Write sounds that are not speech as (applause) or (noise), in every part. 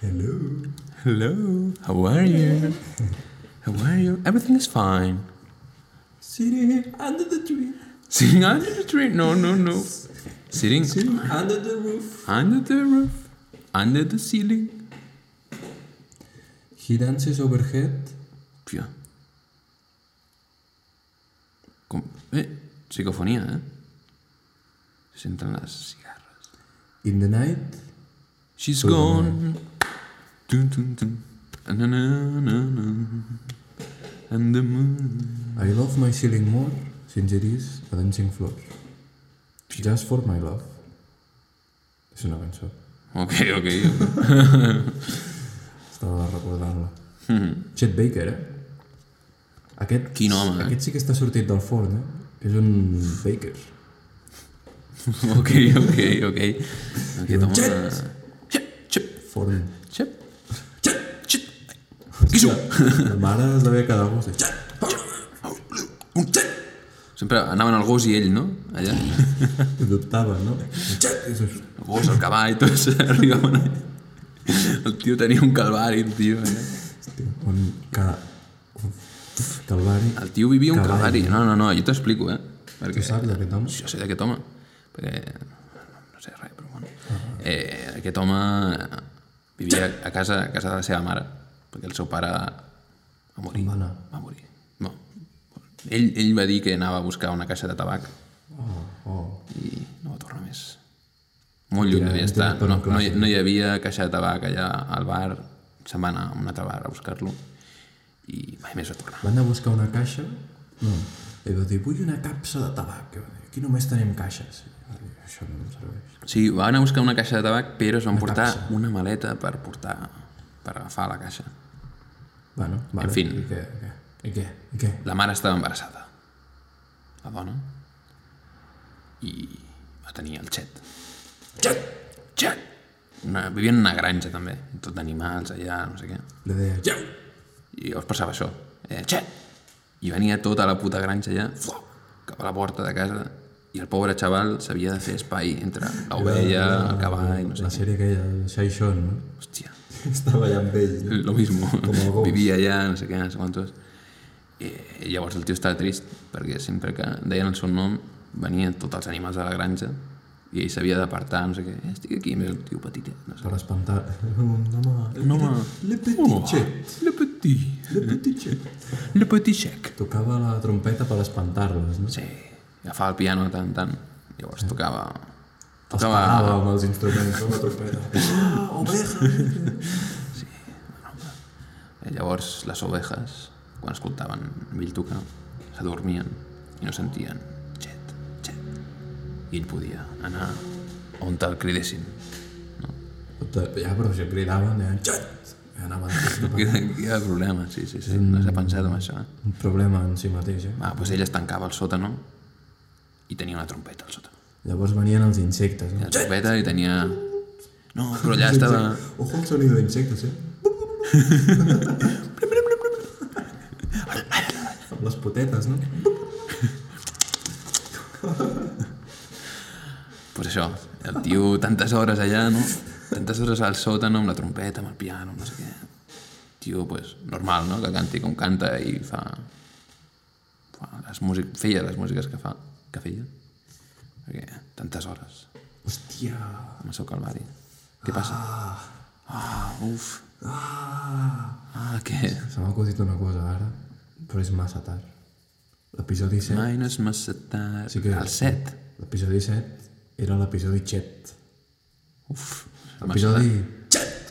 Hello. Hello, how are you? How are you? Everything is fine. (laughs) Sitting here under the tree. Sitting under the tree? No, no, no. Sitting Under the roof. under the roof, under the ceiling. He dances overhead. Pia. Com... Eh, psicofonia, eh? Se senten les cigarres. In the night. She's gone. Dun, dun, dun. Na, na, na, na. And the moon. I love my ceiling more since it is a dancing floor. Just for my love. És una cançó. Ok, ok. Estava (laughs) recordant-la. Chet Baker, eh? Aquest, Quin home, eh? Aquest sí que està sortit del forn, eh? És un baker. (laughs) ok, ok, ok. Aquest home... Jet! Xep, xep, Forn. (laughs) xep. Xep, xep. Hòstia, la mare es devia quedar amb vostè. Un xep. Sempre anaven el gos i ell, no? Allà. Dubtava, (laughs) no? Xat! És això. El gos, el cavall, tots (laughs) arribaven allà. El tio tenia un calvari, el tio. Allà. Hòstia, on ca... Calvari. El tio vivia un Cavall. calvari. No, no, no, jo t'explico, eh? Tu Perquè saps d'aquest home? jo sé d'aquest home. Perquè... No sé res, però bueno. Eh, aquest home vivia a casa, a casa de la seva mare, perquè el seu pare va morir. Va anar. Va morir. No. Ell, ell va dir que anava a buscar una caixa de tabac Oh, oh. i no va tornar més. Molt lluny devia hem estar. tingut per un No, no, hi, no hi havia caixa de tabac allà al bar. Se'n va anar a un altre bar a buscar-lo i mai més va tornar. Va anar a buscar una caixa? No. I va dir, vull una capsa de tabac. I va dir, aquí només tenim caixes. I va dir, això no em serveix. Sí, van anar a buscar una caixa de tabac, però es van portar una maleta per portar per agafar la caixa. Bueno, vale. fi. I què? I què? I què? I què? La mare estava embarassada, la dona, i va tenir el xet. Xet! Xet! Una, vivien en una granja, també, tot d'animals allà, no sé què. Li deia, ja! I llavors passava això, eh, xet! I venia tota la puta granja allà, fuà, cap a la porta de casa, i el pobre xaval s'havia de fer espai entre l'ovella, el cavall, no sé La sèrie aquella de Shai (laughs) Sean, no? què. Hòstia, Estava allà amb ell. lo mismo. el gos. Vivia allà, no sé què, no sé quantos. Eh, I llavors el tio estava trist, perquè sempre que deien el seu nom venien tots els animals de la granja i ell s'havia d'apartar, no sé què. Estic aquí, més el tio petitet, no sé. Per espantar. No, home. No, home. Le petit xec. Le petit. Le petit xec. Le petit xec. Tocava la trompeta per espantar-les, no? Sí, agafava el piano de tant en tant. Llavors tocava... Els Tocava... parava amb els instruments, amb la trompeta. Ah, oveja! Eh, Llavors les ovejas, quan escoltaven Bill tocar, s'adormien i no sentien xet, xet. I ell podia anar on te'l cridessin. Tota, Ja, però si cridaven, deien... Xat! I anaven... Hi ha, hi ha problema, sí, sí, sí. No s'ha pensat en això. Eh? Un problema en si mateix, eh? Va, doncs ell es tancava al sòtano i tenia una trompeta al sòtano. Llavors venien els insectes, Tenia no? la trompeta i tenia... No, però allà estava... Ojo al sonido de insectes, eh? Amb les potetes, no? Pues això, el tio tantes hores allà, no? Tantes hores al sòtano amb la trompeta, amb el piano, no sé què. Tio, pues, normal, no? Que canti com canta i fa... fa les músic... Feia les músiques que fa... que feia. Perquè tantes hores Hòstia! amb el seu calvari. Què passa? Ah, uf. Ah! Ah, què? Se m'ha acudit una cosa ara, però és massa tard. L'episodi 7... Mai no és massa tard. Sí que- El set. L'episodi 7 era l'episodi xet. Uf. L'episodi... Xet!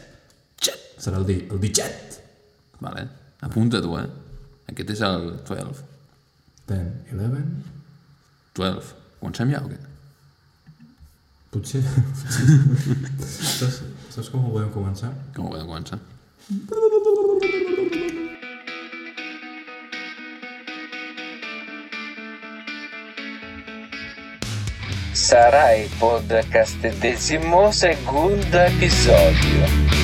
Xet! Serà el di... El di xet! Vale. Apunta tu, eh? Aquest és el 12. 10, 11... 12. Comencem ja o què? Potser... potser. saps, saps com ho podem començar? Com ho podem començar? sarà il podcast decimo secondo episodio.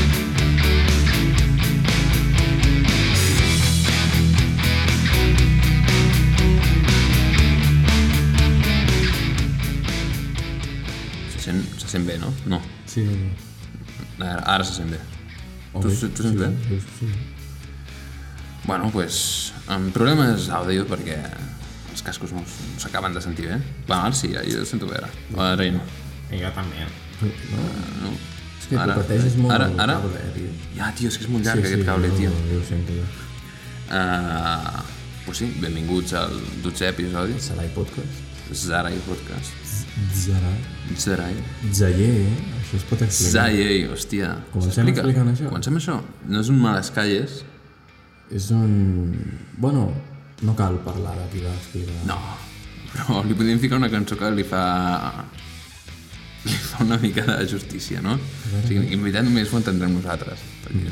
Se sent, se sent bé, no? No. Sí, Ara, ara se sent bé. O Tu- Oh, bé, tu sents sí, bé? veus que sí. Bueno, doncs, pues, amb problemes àudio perquè els cascos no s- no s'acaben de sentir bé. Va, ara sí, jo sento bé ara. Ara ja no. I jo també. Però, no, no. és que Ara, tu pateixes molt ara, el ara. cable, eh, tio. Ja, tio, és que és molt llarg sí, aquest cable, no, tio. Jo ho sento, eh. jo. Uh, pues sí, benvinguts al 12è episodi. Sarai Podcast. Zarai Podcast. Zarai. Zarai. Zayer, eh? Això es pot explicar. Zayei, hòstia. Comencem S'explica? explicant això? Comencem això. No és un males calles. És un... Bueno, no cal parlar de qui va explicar. No. Però li podríem ficar una cançó que li fa... Li fa una mica de justícia, no? O sigui, en veritat només ho entendrem nosaltres. Perquè... No,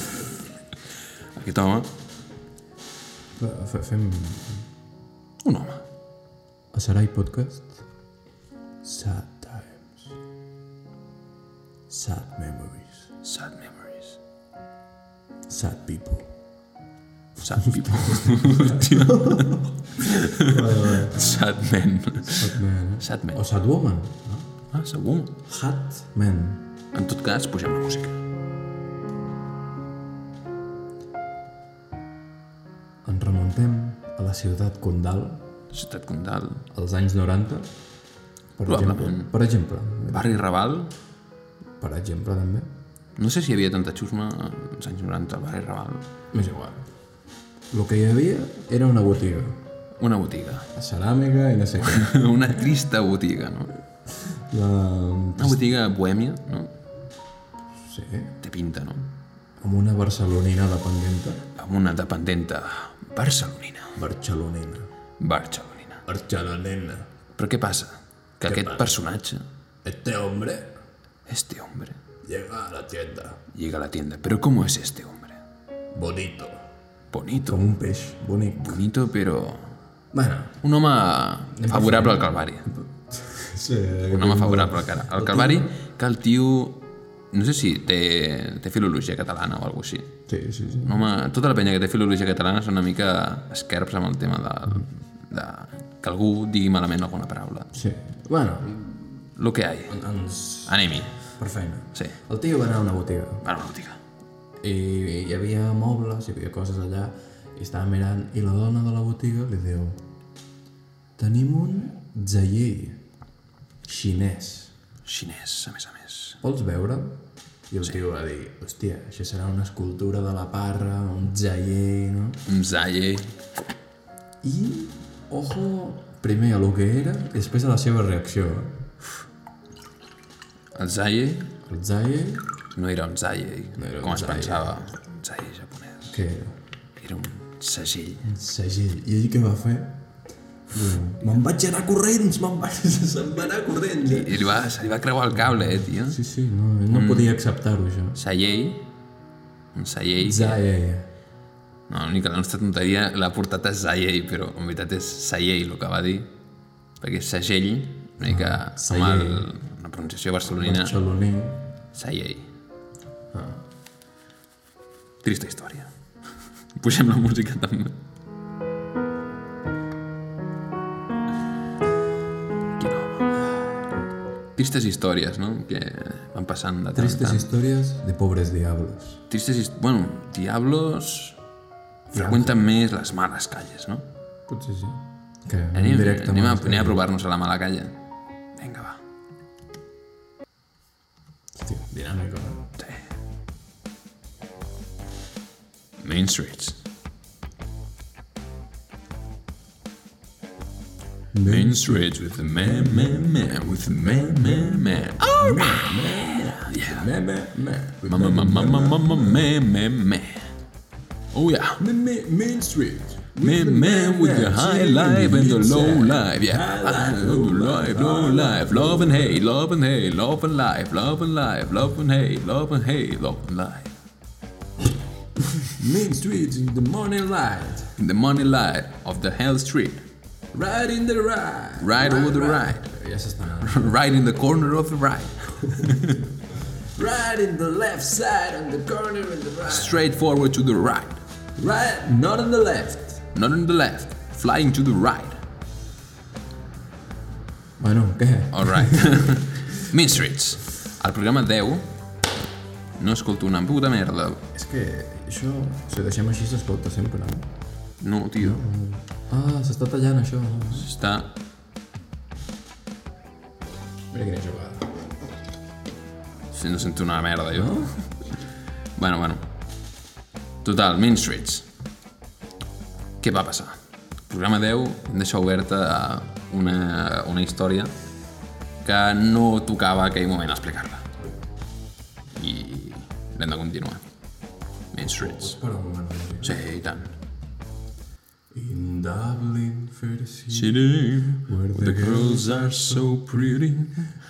és... Aquest home, Fa- fa- Fem un home, a Sarai Podcast. Sad times. Sad memories. sad memories. Sad people. Sad people. sad men. Sad man, eh? Sad men. O sad woman. No? Ah, segur. Hat man. En tot cas, pugem la música. Ens remuntem a la ciutat Condal, Ciutat Condal. als anys 90. Per exemple, Probablement. per exemple, Barri Raval. per exemple també. No sé si hi havia tanta xusma als anys 90 al barri Raval. M'és igual. El que hi havia era una botiga. Una botiga. (laughs) La ceràmica i no (laughs) sé què. Una trista botiga, no? La... Una botiga bohèmia, no? Sí. Té pinta, no? Amb una barcelonina dependenta. Amb una dependenta barcelonina. Barcelonina. Barcelonina. Barcelonina. Però què passa? Que aquest personatge, Este hombre este hombre, llega a la tienda. llega a la tienda. Però com és este hombre? Bonito. Bonito. Com un peix. Bonic. Bonito, però... Bueno. Un home favorable al Calvari. Sí, Un Mm. home favorable al, cal al Calvari que el tio... No sé si té, té filologia catalana o alguna cosa així. sí, sí. sí. No, home, tota la penya que té filologia catalana són una mica esquerps amb el tema de, de que algú digui malament alguna paraula. sí. Bueno, Lo que hay. ens... Anem-hi. Per feina. Sí. El tio va anar a una botiga Va a la botiga. i hi havia mobles, hi havia coses allà i estava mirant i la dona de la botiga li diu tenim un zayer xinès Xinès, a més a més. vols veure? I el sí. tio va dir hòstia, això serà una escultura de la parra un zayer, no? Un zaye. I, ojo, primer a lo que era i després a la seva reacció El zaye el zayer, no era un zaye, No era un com es zaye. pensava. Un zaye japonès. què era? Era un segell. Un segell. I ell què va fer? Diu, Me'n vaig anar corrents, me'n vaig... (laughs) Se'n va anar corrents. eh?" I li va, se li va creuar el cable, eh, tio. Sí, sí, no, ell Mm. no podia acceptar-ho, això. Sayei. Un sayei. Zae. No, l'única, la nostra tonteria l'ha portat a Zayei, però en veritat és Sayei el que va dir, perquè és segell, una mica amb Sayei. el, una pronunciació barcelonina, Xaloní. Sayei. Ah. Trista història. (laughs) Pugem la música també. Quin home. Tristes històries, no? Que van passant de tant en Tristes tant. històries de pobres diablos. Tristes històries... Bueno, diablos... Freqüenten més les males calles, no? Potser sí. Que Anem, directament... anem, a, anem a provar-nos a la mala calla. Vinga, va. Hòstia, dinàmica. eh? Sí. Main Streets. Main Streets with the man, man, man, with the man, man, man. All right! Yeah. Me, me, me. Mama, mama, mama, mama, man, man, man. Oh, yeah. Me, me, Main Street. Man, man, with the high life and the low life, yeah. High High life, low life, low life, love and hate, love and hate, love and life, love and life, love and hate, love and hate, love and life. Main Street in the morning light. In the money light of the hell street, (laughs) Right in the right. right over the right, Ja s'està anant. right in the corner of the right, Right in the left side, on the corner and the right. straight forward to the right, Right, not on the left. not on the left, flying to the right, Bueno, què? (laughs) Alright. mean Streets. Al programa 10 no escolto una puta merda. És que això, si ho deixem així, s'escolta sempre, no? No, tio. Ah, s'està tallant això. Mira Està... quina jugada. Si no sento una merda, jo. bueno, bueno. Total, Mean Streets. Què va passar? Programa 10 em deixa oberta una, una història que no tocava aquell moment explicar-la. I l'hem de continuar. Mean Streets. Espera un moment. Sí, i tant. In Dublin, fair sea, City, Where the the girls are so pretty.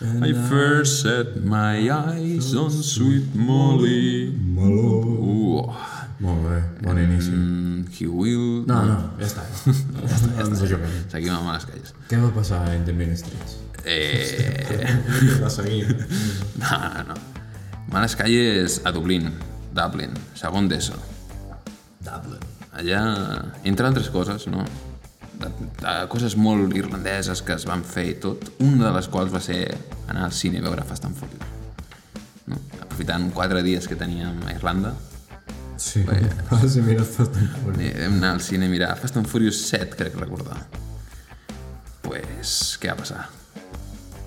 I first set my eyes on Sweet Molly. Malou. Uh, Molt bé, bon inici. Mm, he will... No, no, ja (laughs) està. ja està, ja està. juguem. Seguim amb les calles. Què va passar a In the Ministries? Eh... (laughs) Va seguir. No, no, no. Males calles a Dublín, Dublin, segon d'ESO. Dublin. Allà, entre altres coses, no? De, de coses molt irlandeses que es van fer i tot, una de les quals va ser anar al cine a veure Fast and Furious. No? Aprofitant quatre dies que teníem a Irlanda, Sí, (laughs) ah, sí, mira, està tan eh, vam anar al cine a mirar Fast and Furious 7, crec recordar. Pues, què va passar?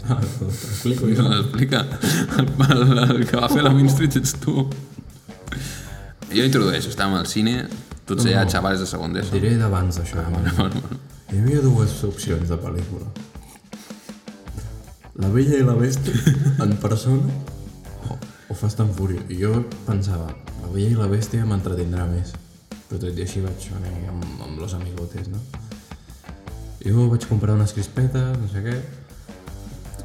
Ah, explico No, explica. El, el, el que va fer la Main Street ets tu. Jo introdueixo, estàvem al cine, tots allà xavals de segon d'ESO. Diré d'abans d'això. Ah, Hi havia dues opcions de pel·lícula. La Bella i la Bèstia en persona o, o Fast and Furious. I jo pensava, La Bella i la Bèstia m'entretindrà més. Però tot i així vaig anar amb, amb los amigotes, no? Jo vaig comprar unes crispetes, no sé què.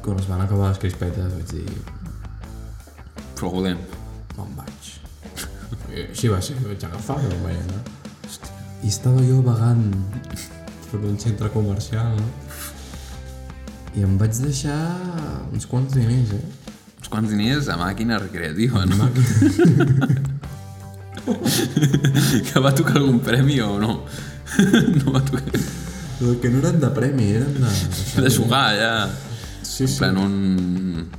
Quan es van acabar les crispetes vaig dir, Però volem. me'n vaig. (laughs) I així Eh, va ser, vaig agafar i me'n vaig anar. I estava jo vagant per un centre comercial, no? I em vaig deixar uns quants diners, eh? Uns quants diners a màquina recreativa, no? que va tocar algun premi o no? (laughs) no va tocar... Però que no eren de premi, eren de... De jugar, ja. Sí, En sí, plan, un...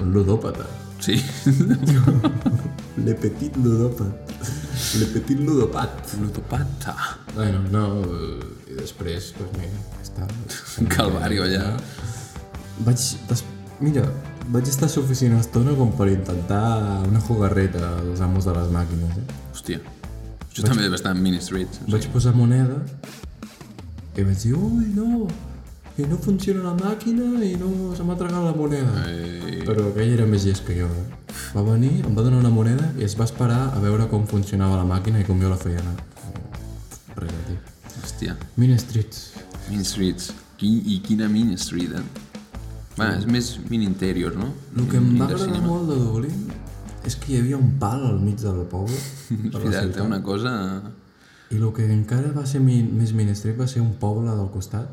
un ludòpata. Sí. Le petit ludòpat. Le petit ludopat. Ludopata. Bueno, no... eh, I després, doncs mira, ja està. (laughs) Un calvario, allà. Vaig... Des... Mira, vaig estar suficient estona com per intentar una jugarreta als amos de les màquines, eh? Hòstia. Això també és bastant mini streets. Vaig posar moneda i vaig dir, ui, no, que no funciona la màquina i no se m'ha tragat la moneda. Eh, Però aquell era més llest que jo, eh? Va venir, em va donar una moneda i es va esperar a veure com funcionava la màquina i com jo la feia anar. Res, tio. hòstia. Mine Streets. Mean Streets. Quin, I quina Mean Street, eh? Va, és més Mean Interior, no? El que em va Interior agradar Mm, Cinema. molt de Dublín és que hi havia un pal al mig del (laughs) poble. És veritat, té una cosa... I el que encara va ser mi, més minestret va ser un poble del costat,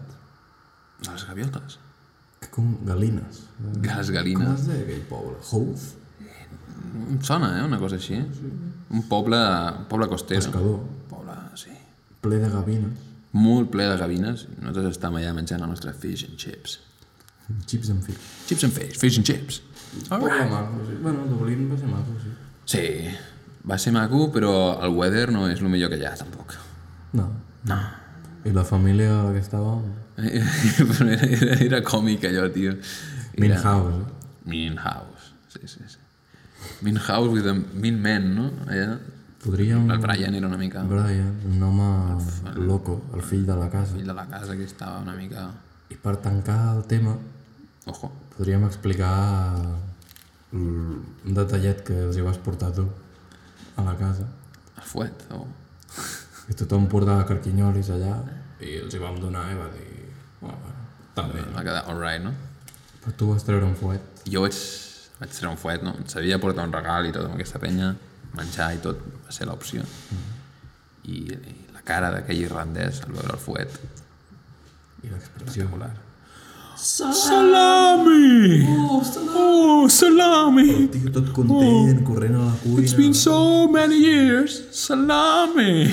de Les gaviotes. que com Galines. Com Que Les es galines. deia aquell poble? Houth? Em sona, eh? Una cosa així. Un poble... Un poble costero. Pescador. Un poble, sí. Ple de gavines. Molt ple de gavines. Nosaltres estàvem allà menjant el nostre fish and chips. Chips and fish. Chips and fish, fish and chips. Poble maco, sí. Bueno, Dublín va ser maco, sí. Sí, va ser maco, però el weather no és el millor que hi ha, tampoc. No. No. I la família a la que estava... Eh, (laughs) Però era, era, era còmic allò, tio. Era- Minhouse, eh? Mean House, sí, sí, sí. Mean House with a Mean Man, no? Allà. Podríem... El Brian era una mica el Brian, un home loco, el fill de la casa. fill de la casa que estava una mica... I per tancar el tema, Ojo. podríem explicar l- un detallet que els hi vas portar tu a la casa. El fuet, o... I tothom portava carquinyolis allà i els hi vam donar i va dir... Bueno, bueno, també. Va quedar all right, no? Però tu vas treure un fuet. Jo vaig, vaig treure un fuet, no? Sabia portar un regal i tot amb aquesta penya, menjar i tot, va ser l'opció. Mm. I, I la cara d'aquell irlandès al veure el fuet, I l'expressió... espectacular. Salami! Oh, salami! Oh, salami! Tio, tot content, corrent a la cuina. so many years! Salami!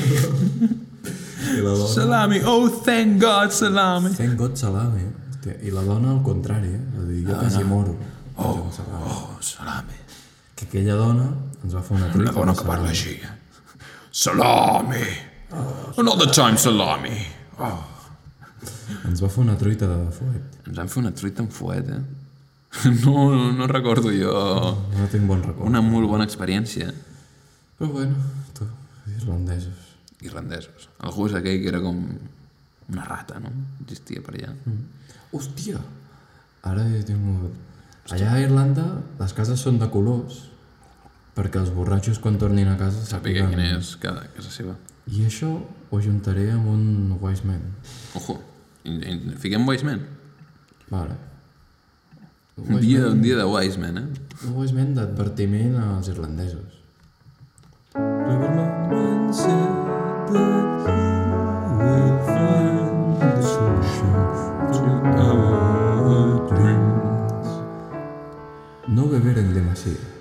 I la dona... Salami! Oh, thank God, salami! Thank God salami. Hòstia, I la dona al contrari, eh? Va dir, jo quasi moro. Oh, Oh, salame. Que aquella dona ens va fer una truita. La dona de que salami. parla així. Salami. Oh. Another time, salami. Oh. Ens va fer una truita de fuet. Ens van fer una truita amb fuet, eh? (laughs) No, no, no recordo jo No tinc bon record. una molt bona experiència. Però bueno, tu, irlandesos. Irlandesos. Algú és aquell que era com una rata, no? Existia per allà. Hòstia! Ara he tingut... Allà a Irlanda les cases són de colors perquè els borratxos quan tornin a casa Sàpiga sàpiguen. quina és cada casa seva. I això ho ajuntaré amb un wise man. Ojo, in- in- fiquem Wiseman. Vale. Un dia, un dia de Wiseman, eh? Un wise man d'advertiment als irlandesos. Riverman said that he will find the solution to our dreams. No beber en demasía.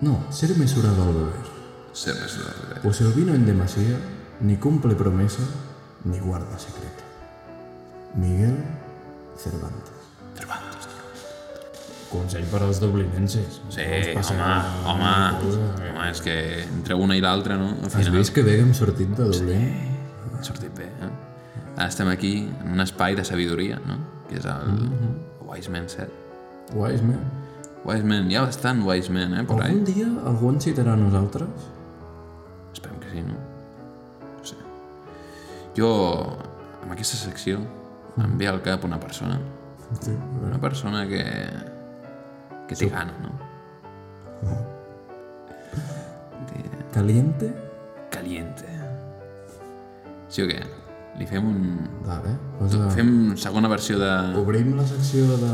No, ser mesurado al beber. Ser més de res. Pues el vino en demasía ni cumple promesa ni guarda secreto. Miguel Cervantes. Cervantes. Consell per als dublinenses. Sí, No us home, passeu home, una cosa. home, és que entre una i l'altra, no? Al Has final, vist que bé que hem sortit de Dublín? ha sortit bé, eh? Ara estem aquí en un espai de sabidoria, no? Que és el Mm-hmm. Wiseman set. Guais, man. Wiseman, hi ha bastant Wiseman, eh? Por ahí. Algun dia algú ens citarà a nosaltres? Esperem que sí, no? No sé. Jo, amb aquesta secció, em Mm. ve al cap una persona. Sí. Una persona que... que té gana, no? Caliente? Caliente. Sí o què? Li fem un... Vale. Posa... Fem segona versió de... Obrim la secció de...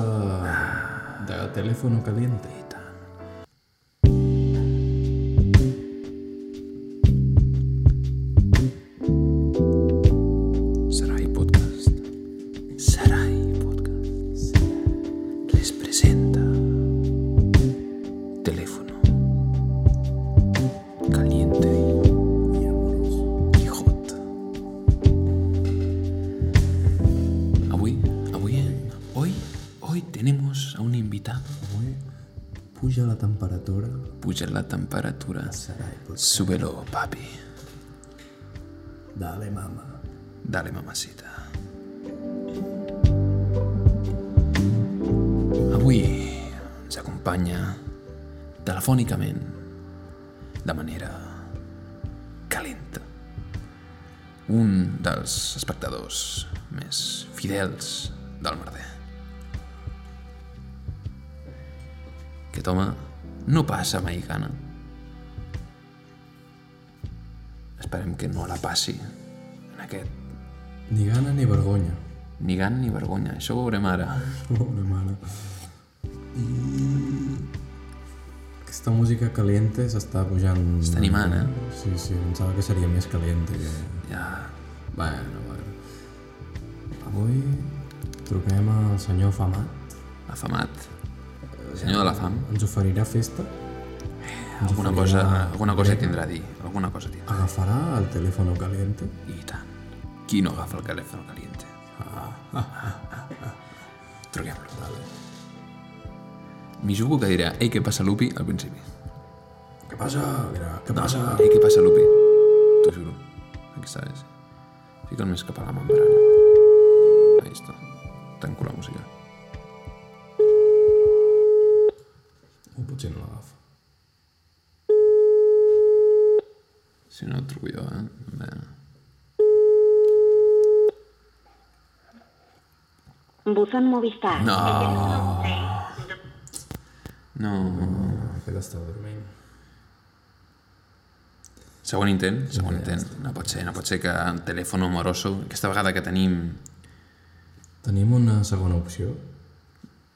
Ah. de telèfono caliente. Sarai Podcast. Sarai Podcast. Les presenta Teléfono Caliente y Amoroso y Hot. Avui, avui, eh? hoy, hoy tenemos a un invitado. Avui puja la temperatura. Puja la temperatura. Serà pues. Súbelo, papi. Dale, mama. Dale, mamacita. Avui ens acompanya telefònicament de manera calenta un dels espectadors més fidels del merder. Aquest home no passa mai gana. Esperem que no la passi en aquest Ni gana ni vergonya. Ni gana ni vergonya, això ho veurem ara. Pobre mare. I... Aquesta música caliente s'està pujant... Està animant, eh? Sí, sí, pensava que seria més caliente. Que... Ja... Bueno, bueno. Avui truquem al senyor Famat. afamat. El senyor de la fam. Ens oferirà festa. Alguna cosa, alguna cosa tindrà a dir, alguna cosa tindrà. Agafarà el telèfon caliente. I tant. Qui no agafa el telèfon caliente? Truquem-lo. Vale. M'hi jugo que dirà, ei, què passa, Lupi, al principi. Ah, Què passa? Mira, què passa? Ei, què passa, Lupi? T'ho juro. Aquí sabes. Fica'l més cap a la membrana. Ahí està. Tanco la música. O Oh, potser no l'agafa. Si no, truco jo, eh? Bé. Buzón Movistar. No. No. Aquest està dormint. Segon intent, segon intent. No pot ser, no pot ser que el telèfon amoroso, aquesta vegada que tenim... Tenim una segona opció.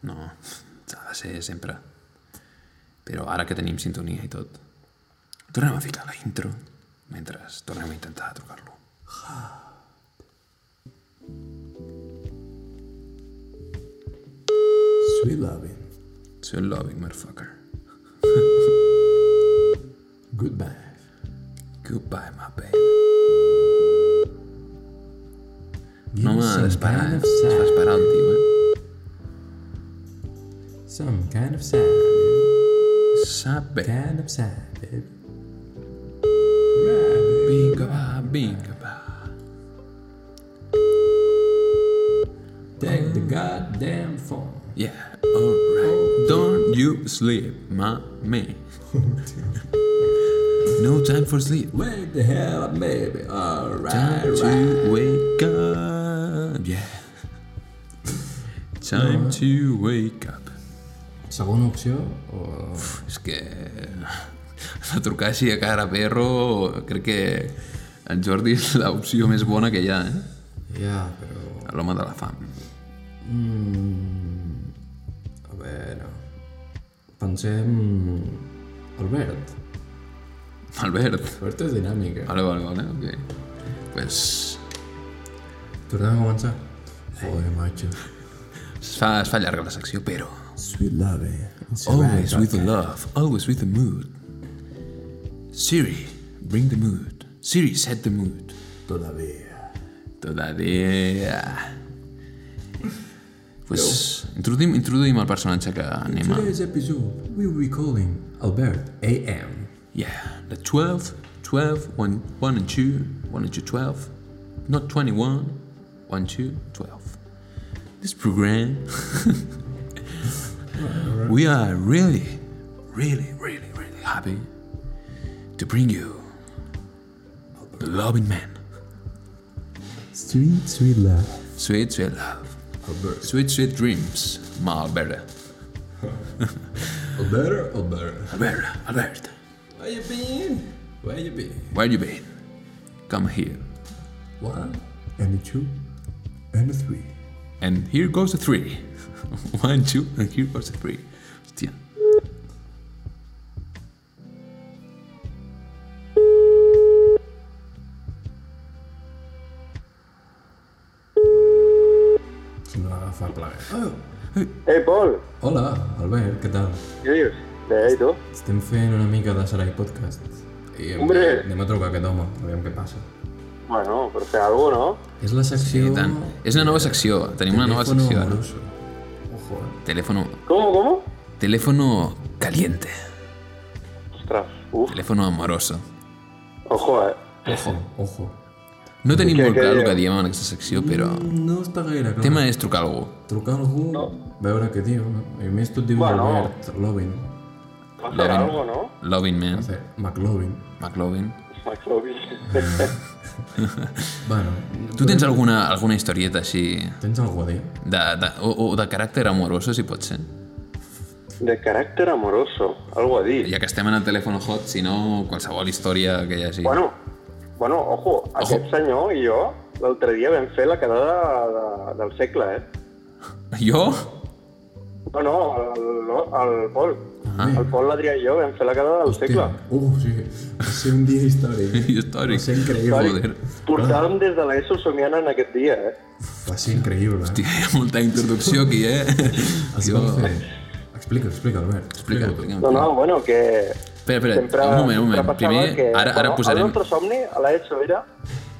No, ha de ser sempre. Però ara que tenim sintonia i tot, tornem a ficar la intro mentre tornem a intentar trucar-lo. Sweet loving. Soy un loving, motherfucker. Goodbye. Goodbye, my babe. No m'ha some d'esperar, kind eh? of Es fa sound. esperar el tio, eh? Some kind of sound, baby. Sap bé. Kind of sound, baby. Vinga, va, vinga, va. Take the goddamn phone. Yeah, alright. Don't you sleep, my man. No time for sleep. Wake the hell up, baby. Alright, Time right. to wake up. Yeah. Time to wake up. Segona opció o... És que (laughs) la trucar així a cara a perro crec que en Jordi és l'opció més bona que hi ha, eh? Ja, però... L'home de la fam. Mm, a veure... Pensem... Albert. Albert. Albert és dinàmica. Vale, vale, vale, ok. Pues Tornem a començar? Joder, macho. es fa, es fa llarga la secció, però... Sweet love, eh? Always with the love, always with the mood. Siri, bring the mood. Siri, set the mood. Todavía. Todavía. Pues introduïm, introduïm el personatge que anem a... Today's episode, we will be calling Albert A.M. Yeah, the 12, 12, 1, 1 and 2, 1 and 2, 12. Not 21, 1, 2, 12. This program, (laughs) we are really, really, really, really happy to bring you the loving man. Sweet, sweet love. Sweet, sweet love. Albert. Sweet, sweet dreams. Ma Alberta. Albert, Albert. Alberta, Alberta. Where you been? Where you been? Where you been? Come here. One, and two, and three. And here goes the three. (laughs) One, two, and here goes the three. Hostia. Si no agafa plaga. Oh, Ei, Pol, hola, Albert, què tal? què dius? Bé, i tu? Estem fent una mica de Sarai Podcast. I hem, Hombre. anem a trucar a aquest home, aviam què passa. Bueno, per fer alguna cosa, no? És la secció... I tant. És Eh, una nova secció. Tenim una nova Teléfono secció. eh? Ara. amoroso. Ojo, eh? Telèfono... Com, com? Telèfono caliente. Ostres, uf, Telèfono amoroso. ojo, eh? Ojo, ojo. No tenim Què- molt què clar el que dieu? diem en aquesta secció, però... El No està gaire clar. tema és trucar a algú. Trucar a algú, veure què diu, no? I a més tu et dius Bueno. Albert Lovin. Per fer Lovin. alguna cosa, no? Loving Man, Sí, McLovin. McLovin. McLovin. Bueno, Tu tens alguna, alguna historieta així tens algú a dir? de, de, o, o de caràcter amoroso, si pot ser? De caràcter amoroso, algo a dir. Ja que estem en el telèfon hot, si no, qualsevol història que hi hagi. Bueno, bueno, ojo, aquest senyor i jo l'altre dia vam fer la quedada de, del segle, eh? Jo? No, no, el, el, el Pol. Ah. El Pol, l'Adrià i jo vam fer la quedada del segle. Uh, sí, va ser un dia (laughs) històric. Històric. Va ser increïble. Joder. Portàvem des de l'ESO somiant en aquest dia, eh? Va ser increïble. Hòstia, hi ha molta introducció aquí, eh? Es va fer... Explica, explica, Albert. Explica, explica. No, no, bueno, que Espera, espera, sempre, un moment, un sempre moment. passava Primer, que, ara, ara bueno, El posarem... nostre somni a l'ESO era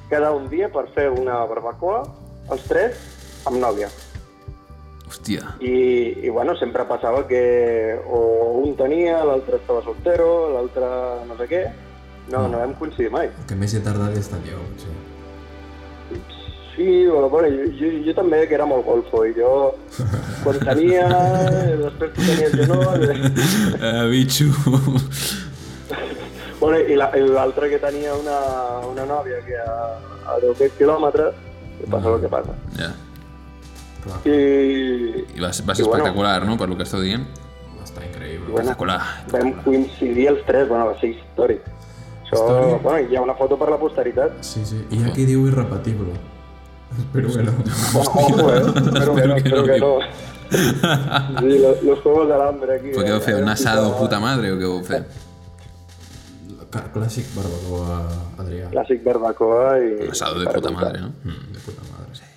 quedar un dia per fer una barbacoa, els tres, amb nòvia. Hòstia, (laughs) I, i bueno, sempre passava que o un tenia, l'altre estava soltero, l'altre no sé què. No, Mm. no vam coincidir mai. El que més he tardat he estat jo, potser. Sí, bueno, bueno jo, jo, jo també, que era molt golfo, i (laughs) jo quan tenia, després tu tenies jo no... eh, bitxo. Bueno, i la- i l'altre que tenia una, una nòvia que a, a 10 quilòmetres, i passa el que passa. ja. Clar, I, I va, ser- va ser I bueno. espectacular, no?, per lo que esteu dient. va estar increïble. bueno, Espectacular. vam coincidir els tres, bueno, va ser històric. Això, Històric. bueno, hi ha una foto per la posteritat. Sí, sí. I aquí diu (laughs) irrepetible. Espero (laughs) que no. Bueno, (laughs) ojo, eh? Espero que no, espero que no. Sí, lo- los juegos de l'hambre aquí. Però què vau fer, eh? un asado puta madre o què vau fer? Clar, Clàssic barbacoa, Adrià. Clàssic barbacoa i... Un asado de puta madre, no? Mm, de puta madre. Sí.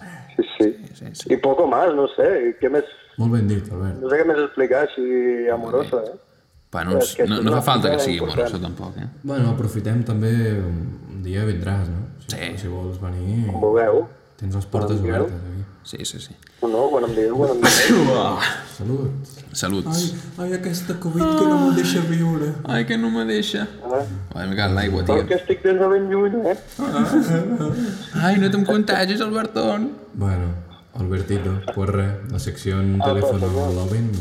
Sí, sí. Sí, sí. I poco más, no sé, què més... Molt ben dit, Albert. No sé què més explicar així amorosa, eh? Pa, no, ens- És que no, és no una fa falta que cosa sigui important. amoroso, tampoc, eh? Bueno, aprofitem també... Un dia vindràs, no? Si, Sí. Si vols venir... Com vulgueu. Tens les portes Hola, Miquel. obertes, aquí. Sí, sí, sí. No, quan em digueu, quan em (laughs) digueu. Salut. Saluts. ai, aquesta Covid que no me'n deixa viure. Ai, que no me deixa. Ah, Ai, m'he quedat l'aigua, Però tio. que estic des de ben lluny, eh? Ai, no te'm contagis, Albertón. Bueno, Albertito, pues res, la secció en telèfono al Lovin...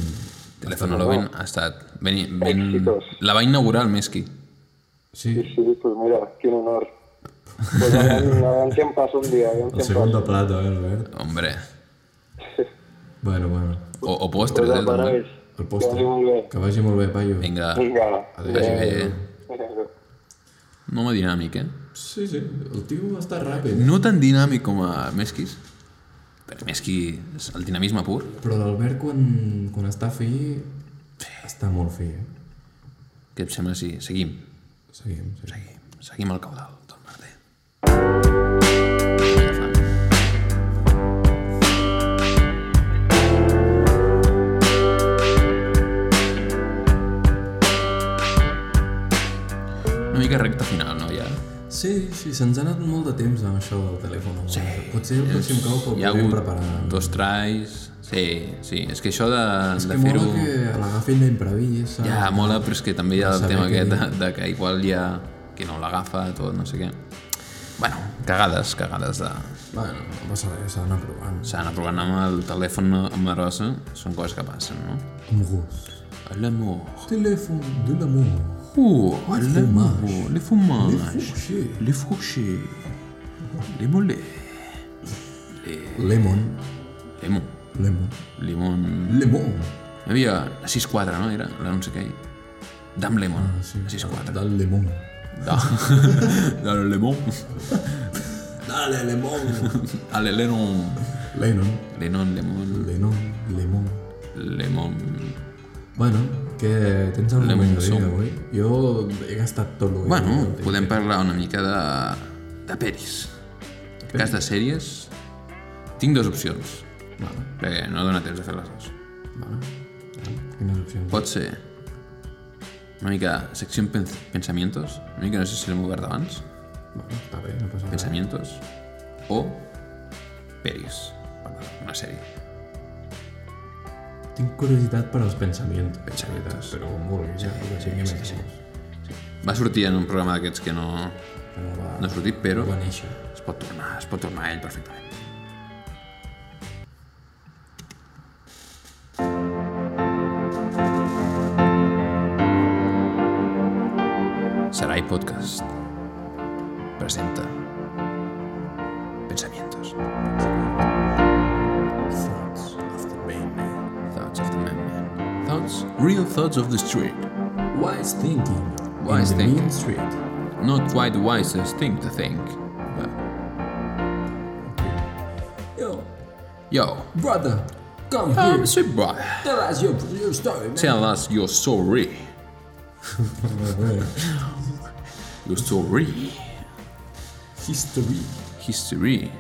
Telèfon a l'Oven ha estat... Ben, ben... Exitós. La va inaugurar el Mesqui. Sí, Sí, sí, pues mira, quin honor. Pues (laughs) aviam, aviam si em passa un dia, aviam el si em passa. segon de plata, eh, Albert? Hombre. Bueno, bueno, O, o postres, Pues eh, a també. París. el Que vagi postre. molt bé. Que vagi molt bé, paio. Vinga, Vinga. vagi bé. eh. Adéu. No home dinàmic, eh? Sí, sí, el tio està ràpid. No tan dinàmic com a Mesquis. Perquè Mesqui és el dinamisme pur. Però l'Albert, quan, quan està fi, està molt fi, eh? Què et sembla si seguim? Seguim, sí. Seguim, seguim el caudal del merder. Vinga, fam. Una mica recta final, no? Ja. Sí, sí, se'ns ha anat molt de temps amb això del telèfon. Sí. Potser el pròxim cop el Hi ha podem hagut preparar. dos tries... Sí, sí, és que això de, de Que fer-ho... mola que l'agafin d'imprevist, saps? Ja, mola, però és que també hi ha el Saber tema que- aquest de, de que igual hi ha qui no l'agafa, tot, no sé què. Bueno, cagades, cagades de... Bueno, no passa res, s'ha d'anar provant. S'ha anat provant amb el telèfon amb la rosa, són coses que passen, no? Amb gust. L'amour. Telèfon de l'amour. Uh, l'amour, fromage. les fromages, Fuxer. les fourchers, les molets, Lemon. lemon, Lemon. lemon... Lemon. Hi havia la 6-4, no? Era la no sé què. Dam Lemon, ah, sí. Ah. 6-4. Del lemon. Da. (laughs) Da Lemon. Dale, lemon. (laughs) Ale Lennon. Lennon. Lennon, Lemon, Lennon. Lemon. Lemon... Bueno, què tens el Lemon moment de dir song. avui? Jo he gastat tot el que... Bueno, havia. podem parlar una mica de... de peris. En cas de sèries, tinc dues opcions. Vale, Perquè no dóna temps de fer les dues. vale. Quines opcions? Pot ser una mica secció en pens- pensamientos, una mica no sé si l'hem obert abans, Bueno, està bé, no passa res. pensamientos, o peris, una sèrie. Tinc curiositat per als pensaments. Pensamientos. Però com vulguis, ja, que sigui més. Sí, Va sortir en un programa d'aquests que no, Però va, no ha sortit, però va néixer. es pot tornar, es pot tornar a ell perfectament. Sarai Podcast presenta Pensamientos Thoughts of the main man. Thoughts of the Man Man Thoughts Real Thoughts of the Street Wise thinking. Wise in the thinking. mean street. Not quite the wisest thing to think but... Yo, Yo, brother, come I'm here. sweet boy Tell us your, your story, man. Tell us you're sorry. (laughs) you're sorry. History. History.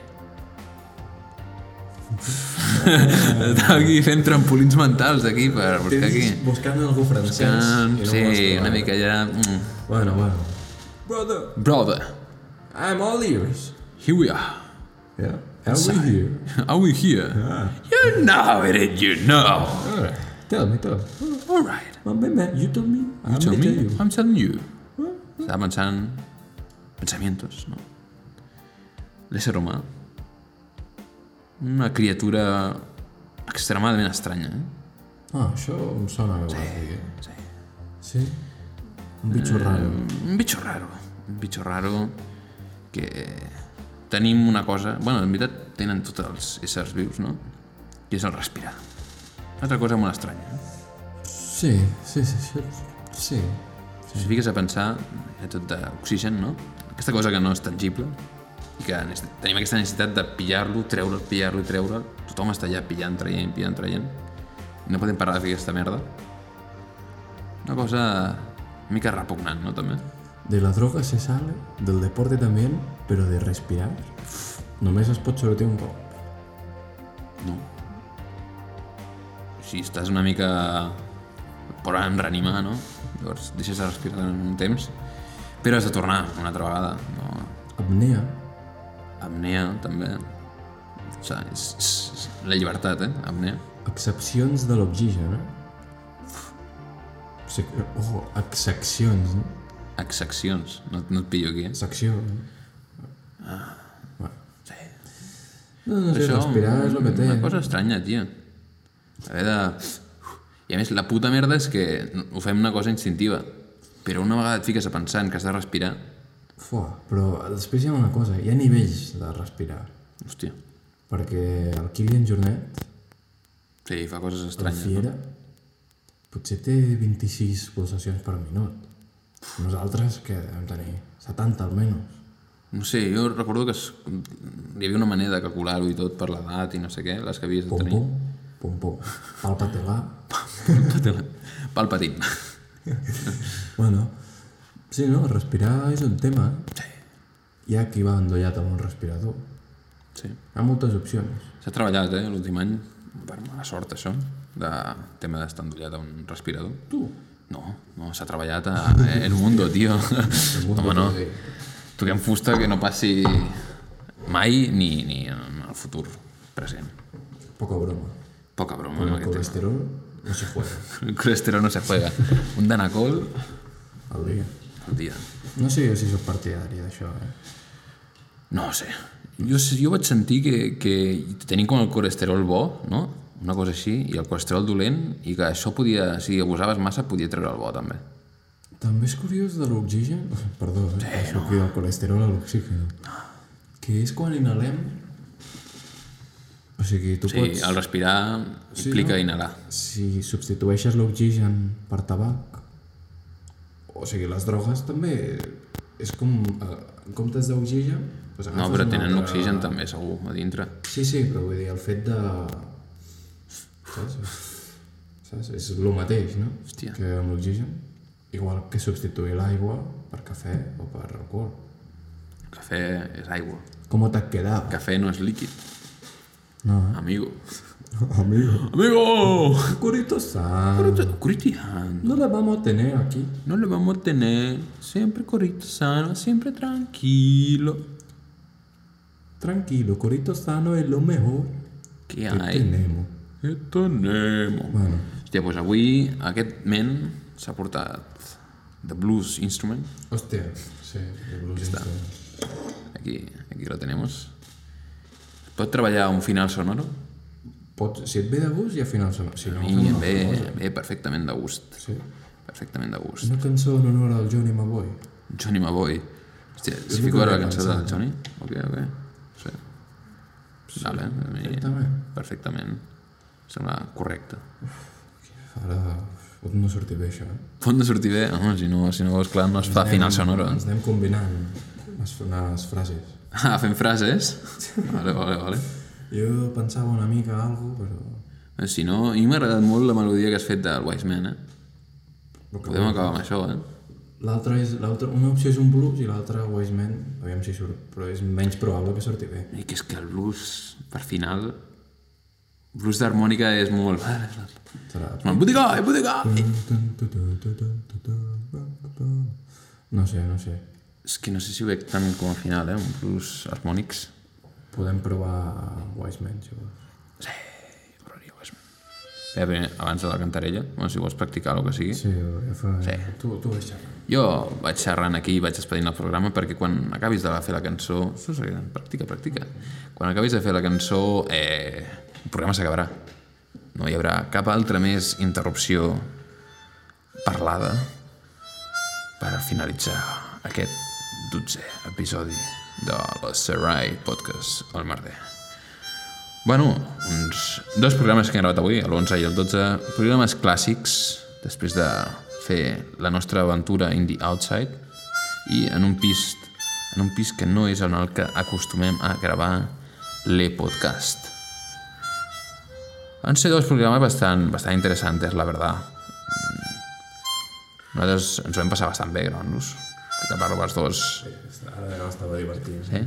Estava aquí fent trampolins mentals aquí per buscar aquí. Buscant algú francès. Can... i no ho has Sí, una trobat. mica ja... Mm. Bueno, bueno. Brother, Brother, I'm all ears. here we are. Yeah? How are you? Are we here? You know it, you know. Alright. Tell me, tell me. All right. Well, man, man, you tell me. I'm Tell gonna me, tell you. I'm telling you. Estaba pensando pensamientos, ¿no? L'ésser humà, una criatura extremadament estranya, eh? Ah, això em sona que ho vas dir. eh? Sí. Sí? Eh, Un bitxo raro. Un bitxo raro, un bitxo raro que tenim una cosa... Bueno, en veritat tenen tots els éssers vius, no? Que és el respirar. Una altra cosa molt estranya, eh? Sí, sí, sí, sí. Sí. Si fiques a pensar, era tot d'oxigen, no? Aquesta cosa que no és tangible i que nes- tenim aquesta necessitat de pillar-lo, treure'l, pillar-lo i treure'l. Tothom està allà pillant, traient, pillant, traient. I no podem parar de fer aquesta merda. Una cosa una mica repugnant, no, també? De la droga se sale, del deporte también, pero de respirar, només es pot sortir un cop. No. Si estàs una mica podran reanimar, no? Llavors deixes de respirar durant un temps, però has de tornar una altra vegada. No? Apnea, Apnea, també. O sea, és, és, és la llibertat, eh? Apnea. Excepcions de l'oxigen, eh? Sec... Oh, exaccions, no? Exaccions. No, no et pillo aquí, eh? Secció, no? Ah. Sí. No, no sé, Això, respirar és el que té. Una cosa estranya, tio. Haver de... I a més, la puta merda és que ho fem una cosa instintiva. Però una vegada et fiques a pensar en que has de respirar... Fuà, però després hi ha una cosa, hi ha nivells de respirar. Hòstia. Perquè el Kilian Jornet, Sí, fa coses la estranyes. fiera, potser té 26 pulsacions per minut. Nosaltres, que hem tenir 70 almenys. No sé, jo recordo que es... hi havia una manera de calcular-ho i tot per l'edat i no sé què, les que havies de Pum, tenir. pum, pum, pum. Palpa-te-la. Palpatine. Bueno, sí, no? Respirar és un tema. Sí. Hi ha qui va endollat amb un respirador. Sí. Hi ha moltes opcions. S'ha treballat, eh, l'últim any, per mala sort, això, de tema d'estar endollat a un respirador. Tu? No, no, s'ha treballat a El Mundo, (laughs) tio. Home, no. Toquem fusta que no passi mai ni, ni en el futur present. Poca broma. Poca broma. Amb en el aquest tema. colesterol no se juega El colesterol no se juega. Un danacol al dia. al dia. No sé jo si sóc partidari d'això, eh? No ho sé. Jo, sé- jo vaig sentir que, que tenim com el colesterol bo, no? Una cosa així, i el colesterol dolent, i que això podia, si abusaves massa, podia treure el bo, també. També és curiós de l'oxigen... (laughs) Perdó, eh? Sí, no. Aquí del colesterol a l'oxigen. Ah. Que és quan inhalem... O sigui, tu Sí, pots... el respirar implica no? inhalar. Si substitueixes l'oxigen per tabac... O sigui, les drogues també... És com... Eh, en comptes d'oxigen... Doncs No, agafes però un tenen altre- oxigen també, segur, a dintre. Sí, sí, però vull dir, el fet de... Saps? Saps? És el mateix, no? Hòstia. Que amb l'oxigen. Igual que substituir l'aigua per cafè o per alcohol. El cafè és aigua. Com t'ha quedat? El cafè no és líquid, No, amigo. eh? (laughs) Amigo. Amigo! Curito san. Coritian. No la vamos a tener aquí. No lo vamos a tener. Siempre corito sano, siempre tranquilo. Tranquilo, Corito sano es lo mejor ¿Qué que hay? tenemos. ¿Qué tenemos? Bueno, Hòstia, doncs avui aquest men s'ha portat The Blues Instrument. hostia, sí, el blues instrument. Aquí, aquí lo tenemos. Pot treballar un final sonoro? Pots, si et ve de gust i al final sona. Si no, I fem em una ve, altra cosa. em ve perfectament de gust. Sí. Perfectament de gust. Una cançó en honor al Johnny Maboy. Johnny Maboy. Hòstia, si lo fico que ara la havia cançó de pensat, eh? Johnny? Ok, ok. Sí. Vale, a mi- perfectament. perfectament. Sembla correcte. Ara pot no sortir bé això, eh? Pot no sortir bé? Home, si no, si no vols clar, no es fa final sonoro. Ens anem combinant les, les frases. (laughs) Ah, fent frases? Vale, vale, vale. Jo pensava una mica algo, però... Eh, Si no, a mi m'ha agradat molt la melodia que has fet del Wise Man, eh? Lo que- Podem acabar amb això, eh? L'altra és... L'altra, una opció és un blues i l'altra Wise Man, aviam si surt, però és menys probable que surti bé. I que és que el blues, per final... Blues d'harmònica és molt... (laughs) Serà... Botigar, eh, botigar! No sé, no sé. És que no sé si ho veig tant com a final, eh? Un blues harmònics. Podem provar Wise Man, si vols. Bé, bé, abans de la cantarella, bueno, si vols practicar o que sigui. Sí, ja fa... Sí. Tu, tu deixa. Jo vaig xerrant aquí i vaig expedint el programa perquè quan acabis de fer la cançó... Això és pràctica, pràctica. Quan acabis de fer la cançó, eh, el programa s'acabarà. No hi haurà cap altra més interrupció parlada per finalitzar aquest 12è episodi de la Serai Podcast al Merder. Bueno, uns dos programes que hem gravat avui, l'11 i el 12, programes clàssics, després de fer la nostra aventura in the outside i en un pis, en un pis que no és en el que acostumem a gravar le podcast. Han sido dos programas bastante, bastante interesantes, la verdad. Mm. Nosaltres ens ho hem passat bastant bé, gravant-los. Que parlo pels dos. Ara ja estava divertit. Sí?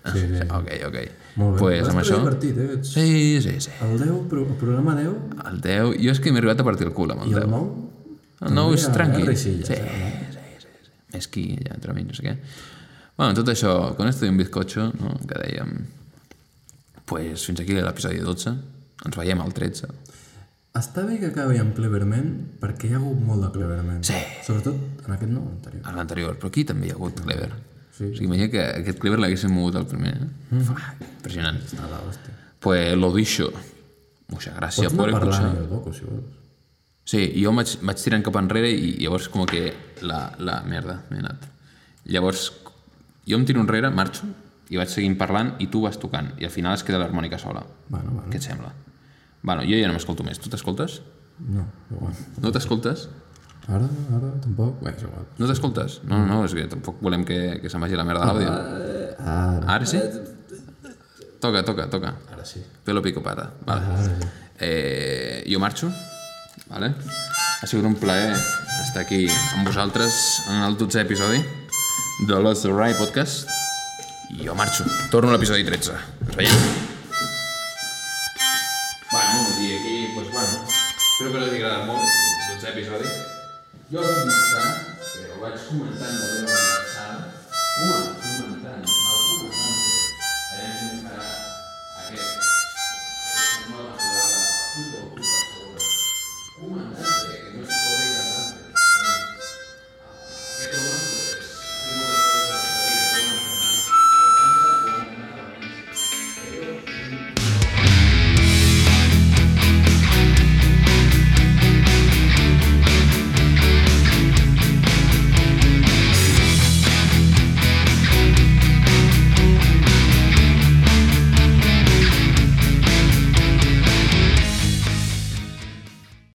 Sí, sí. Ok, ok. Molt bé. Ah. pues, amb Vas això... divertit, eh? Ets- Sí, sí, sí. El 10, però el programa 10 El 10... Jo és que m'he arribat a partir el cul amb el i 10. el 9... El nou és també a tranquil. Resilles, sí, eh? sí, sí, sí. Més qui allà entre mi, no sé què. Bueno, tot això, con esto de un bizcocho, no? que dèiem, pues fins aquí l'episodi 12. Ens veiem al 13. Està bé que acabi amb Cleverman perquè hi ha hagut molt de Cleverman. Sí. Sobretot en aquest nou anterior. A l'anterior, però aquí també hi ha hagut Clever. Sí. Mm. O sigui, imagina que aquest Clever l'haguéssim mogut al primer. Eh? Fa, impressionant. A la hòstia. Pues lo dicho. Muchas gracias Pots por anar escuchar. parlant jo, Doco, si vols. Sí, i jo em vaig, vaig tirant cap enrere i llavors com que la, la merda, m'he anat. Llavors, jo em tiro enrere, marxo, i vaig seguint parlant i tu vas tocant. I al final es queda l'harmònica sola. Bueno, bueno. Què et sembla? Bueno, jo ja no m'escolto més. Tu t'escoltes? No, igual. No t'escoltes? Ara, ara, tampoc. Bé, és igual. No t'escoltes? No, no, és que tampoc volem que, que se'n vagi la merda a l'àudio. Ah, Ara, Eh, Ara sí? Toca, toca, toca. ara sí. Ah, Pelo pico pata. Vale. Ara sí. Eh, jo marxo, vale? ha sigut un plaer estar aquí amb vosaltres en el 12è episodi de Lost the Rye Podcast. I jo marxo. Torno a l'episodi 13. Ens veiem. Bueno, i aquí, doncs, bueno, espero que us hagi agradat molt el 12è episodi. Jo us vaig comentar, però vaig comentar amb la meva Home,